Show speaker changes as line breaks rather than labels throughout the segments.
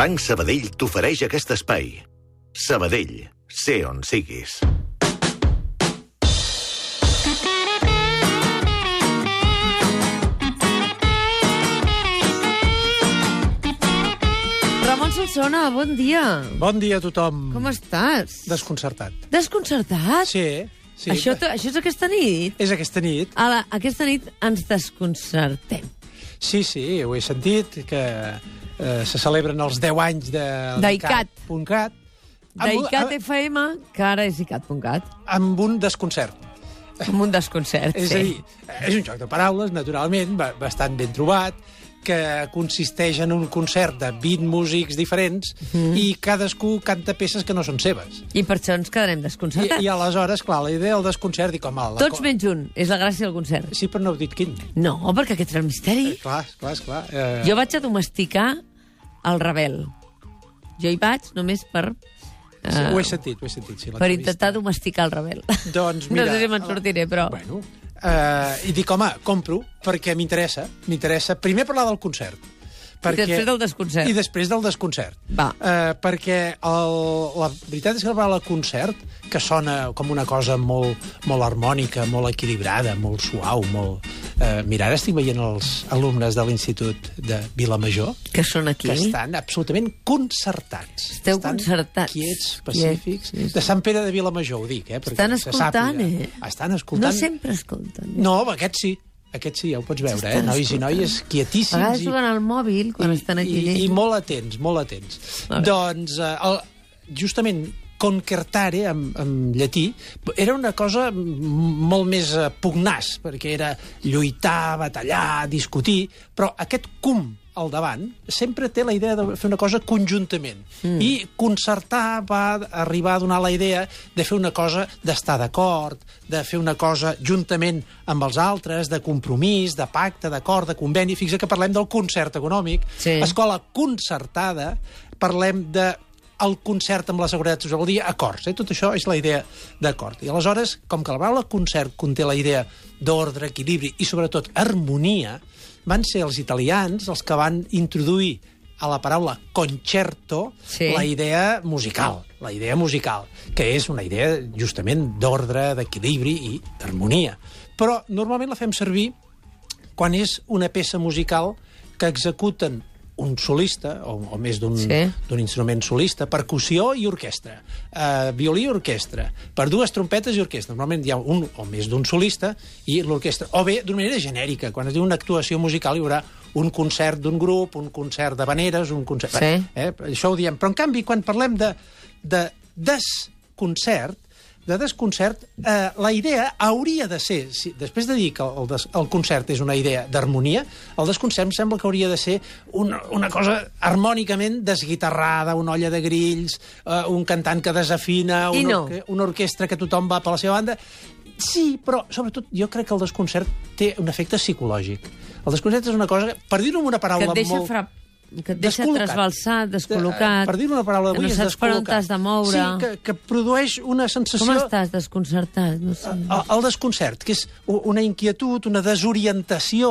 Banc Sabadell t'ofereix aquest espai. Sabadell, sé on siguis.
Ramon Solsona, bon dia.
Bon dia a tothom.
Com estàs?
Desconcertat.
Desconcertat?
Sí, sí.
Això, t- això és aquesta nit?
És aquesta nit.
A la, aquesta nit ens desconcertem.
Sí, sí, ho he sentit, que eh, se celebren els 10 anys de...
D'ICAT.
.cat. Amb,
D'ICAT FM, que ara és ICAT.cat,
un- amb un desconcert.
com un desconcert,
És a
sí.
dir, és un joc de paraules, naturalment, ba- bastant ben trobat, que consisteix en un concert de 20 músics diferents
Mhm.
mm. i cadascú canta peces que no són seves.
I per això ens quedarem
I,
desconcertats.
i aleshores, clar, la idea del desconcert, dic, home... La
Tots
co-
menys un. És la gràcia del concert.
Sí, però no heu dit quin.
No, perquè aquest era el misteri.
Clar, clar, clar. Eh,
Jo vaig a domesticar el rebel. Jo hi vaig només per,
Sí, ho he sentit, ho he sentit. Sí,
Eh, per
l'entrevista.
intentar domesticar el rebel.
Doncs mira...
no sé si me'n sortiré, però...
Bueno, eh, I dic, home, compro, perquè m'interessa. M'interessa primer parlar del concert.
després del desconcert.
I després del desconcert.
Va.
Eh, perquè el, la veritat és que parlar del concert, que sona com una cosa molt, molt harmònica, molt equilibrada, molt suau, molt... Eh, mira, ara estic veient els alumnes de l'Institut de Vilamajor,
Que són aquí.
que estan absolutament concertats.
Esteu
estan
concertats.
Quiets, pacífics.
Quiets, sí, sí.
De Sant Pere de Vilamajor, ho dic, eh? perquè
Estan
se sàpiga.
escoltant, eh?
Estan escoltant.
No sempre eh? escolten.
No, aquest sí. Aquest sí, ja ho pots veure, eh?
S'estan
Nois i
escoltant.
noies
A
quietíssims.
vegades juguen al mòbil quan estan aquí.
I, i molt atents, molt atents.
Molt bé.
Doncs, eh, el, justament, concertare en, en llatí era una cosa m- molt més eh, pugnaç, perquè era lluitar, batallar, discutir, però aquest cum al davant sempre té la idea de fer una cosa conjuntament. Mm. I concertar va arribar a donar la idea de fer una cosa d'estar d'acord, de fer una cosa juntament amb els altres, de compromís, de pacte, d'acord, de conveni. Fixa que parlem del concert econòmic.
Sí.
Escola concertada, parlem de el concert amb la seguretat social, vol dir acords. Eh? Tot això és la idea d'acord. I aleshores, com que la paraula concert conté la idea d'ordre, equilibri i, sobretot, harmonia, van ser els italians els que van introduir a la paraula concerto
Sí.
la idea musical, la idea musical, que és una idea justament d'ordre, d'equilibri i d'harmonia. Però normalment la fem servir quan és una peça musical que executen un solista, o, o més d'un
Sí.
sí. instrument solista, percussió i orquestra, eh, violí i orquestra, per dues trompetes i orquestra. Normalment hi ha un o més d'un solista i l'orquestra. O bé, d'una manera genèrica, quan es diu una actuació musical hi haurà un concert d'un grup, un concert de vaneres, un concert...
Sí.
Eh? Això ho diem. Però, en canvi, quan parlem de, de desconcert, de desconcert, eh, la idea hauria de ser, si, després de dir que el, des, el concert és una idea d'harmonia, el desconcert em sembla que hauria de ser una, una cosa harmònicament desguitarrada, una olla de grills, eh, un cantant que desafina,
I
una,
no.
orque- una orquestra que tothom va per la seva banda... Sí, però sobretot jo crec que el desconcert té un efecte psicològic. El desconcert és una cosa, que, per dir-ho amb una
que
paraula
et deixa,
molt...
fra... que et deixa
Descol·locat.
trasbalsat, descol·locat.
Eh, Per dir una paraula
que
d'avui,
no
és
saps per on
descol·locat.
t'has de moure.
Sí, que, que produeix una sensació...
Com estàs desconcertat? No sé.
El, el desconcert, que és u- una inquietud, una desorientació,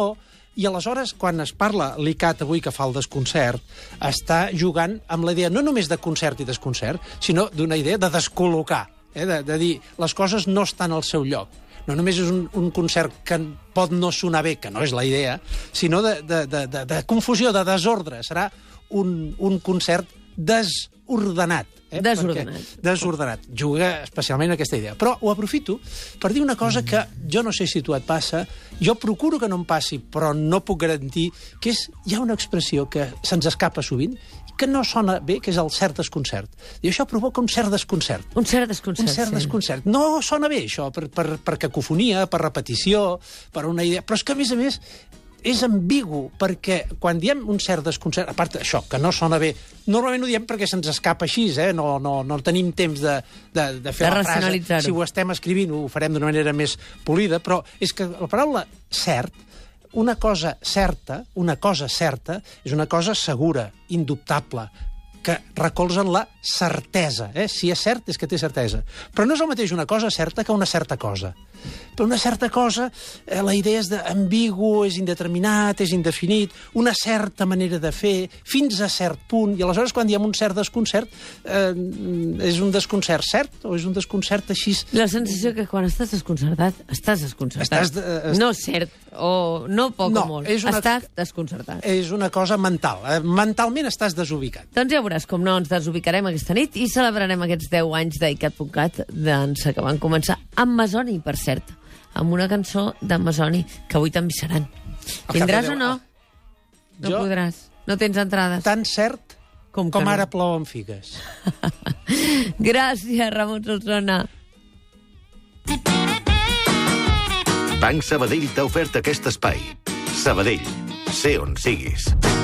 i aleshores, quan es parla l'ICAT avui que fa el desconcert, està jugant amb la idea no només de concert i desconcert, sinó d'una idea de descol·locar, eh? de, de dir les coses no estan al seu lloc. No només és un, un concert que n- pot no sonar bé, que no és la idea, sinó de, de, de, de, de confusió, de desordre. Serà un, un concert desordenat. Eh?
Desordenat.
Perquè desordenat. Juga especialment aquesta idea. Però ho aprofito per dir una cosa que jo no sé si a tu et passa, jo procuro que no em passi, però no puc garantir, que és, hi ha una expressió que se'ns escapa sovint, que no sona bé, que és el cert desconcert. I això provoca un cert desconcert.
Un cert desconcert.
Un cert
sí.
desconcert. No sona bé, això, per, per, per cacofonia, per repetició, per una idea... Però és que, a més a més, és ambigu, perquè quan diem un cert desconcert, a part això, que no sona bé, normalment ho diem perquè se'ns escapa així, eh? no, no, no tenim temps de, de, de
De
fer la frase.
racionalitzar-ho.
Si ho estem escrivint, ho farem d'una manera més polida, però és que la paraula cert una cosa certa, una cosa certa, és una cosa segura, indubtable, que recolzen la certesa. Eh? Si és cert, és que té certesa. Però no és el mateix una cosa certa que una certa cosa. Però una certa cosa, eh, la idea és d'ambigu, és indeterminat, és indefinit, una certa manera de fer, fins a cert punt, i aleshores quan diem un cert desconcert, eh, és un desconcert cert o és un desconcert així...
La sensació que quan estàs desconcertat, estàs desconcertat.
Estàs de- eh, est-
No cert, o no poc
No,
o molt.
és una-
Estàs desconcertat.
És una cosa mental. Eh? Mentalment estàs desubicat.
Doncs ja veuràs com no ens desubicarem aquesta nit i celebrarem aquests 10 anys d'ICAT.cat d'ençà que van començar amb Masoni, per cert, amb una cançó de Masoni que avui també seran.
cap de
Vindràs
deu- Ah.
o no? No
Jo-
podràs. No tens entrades.
Tan cert
Com que
com
no.
ara plouen figues.
Gràcies, Ramon Solsona.
Banc Sabadell t'ha ofert aquest espai. Sabadell, sé on siguis.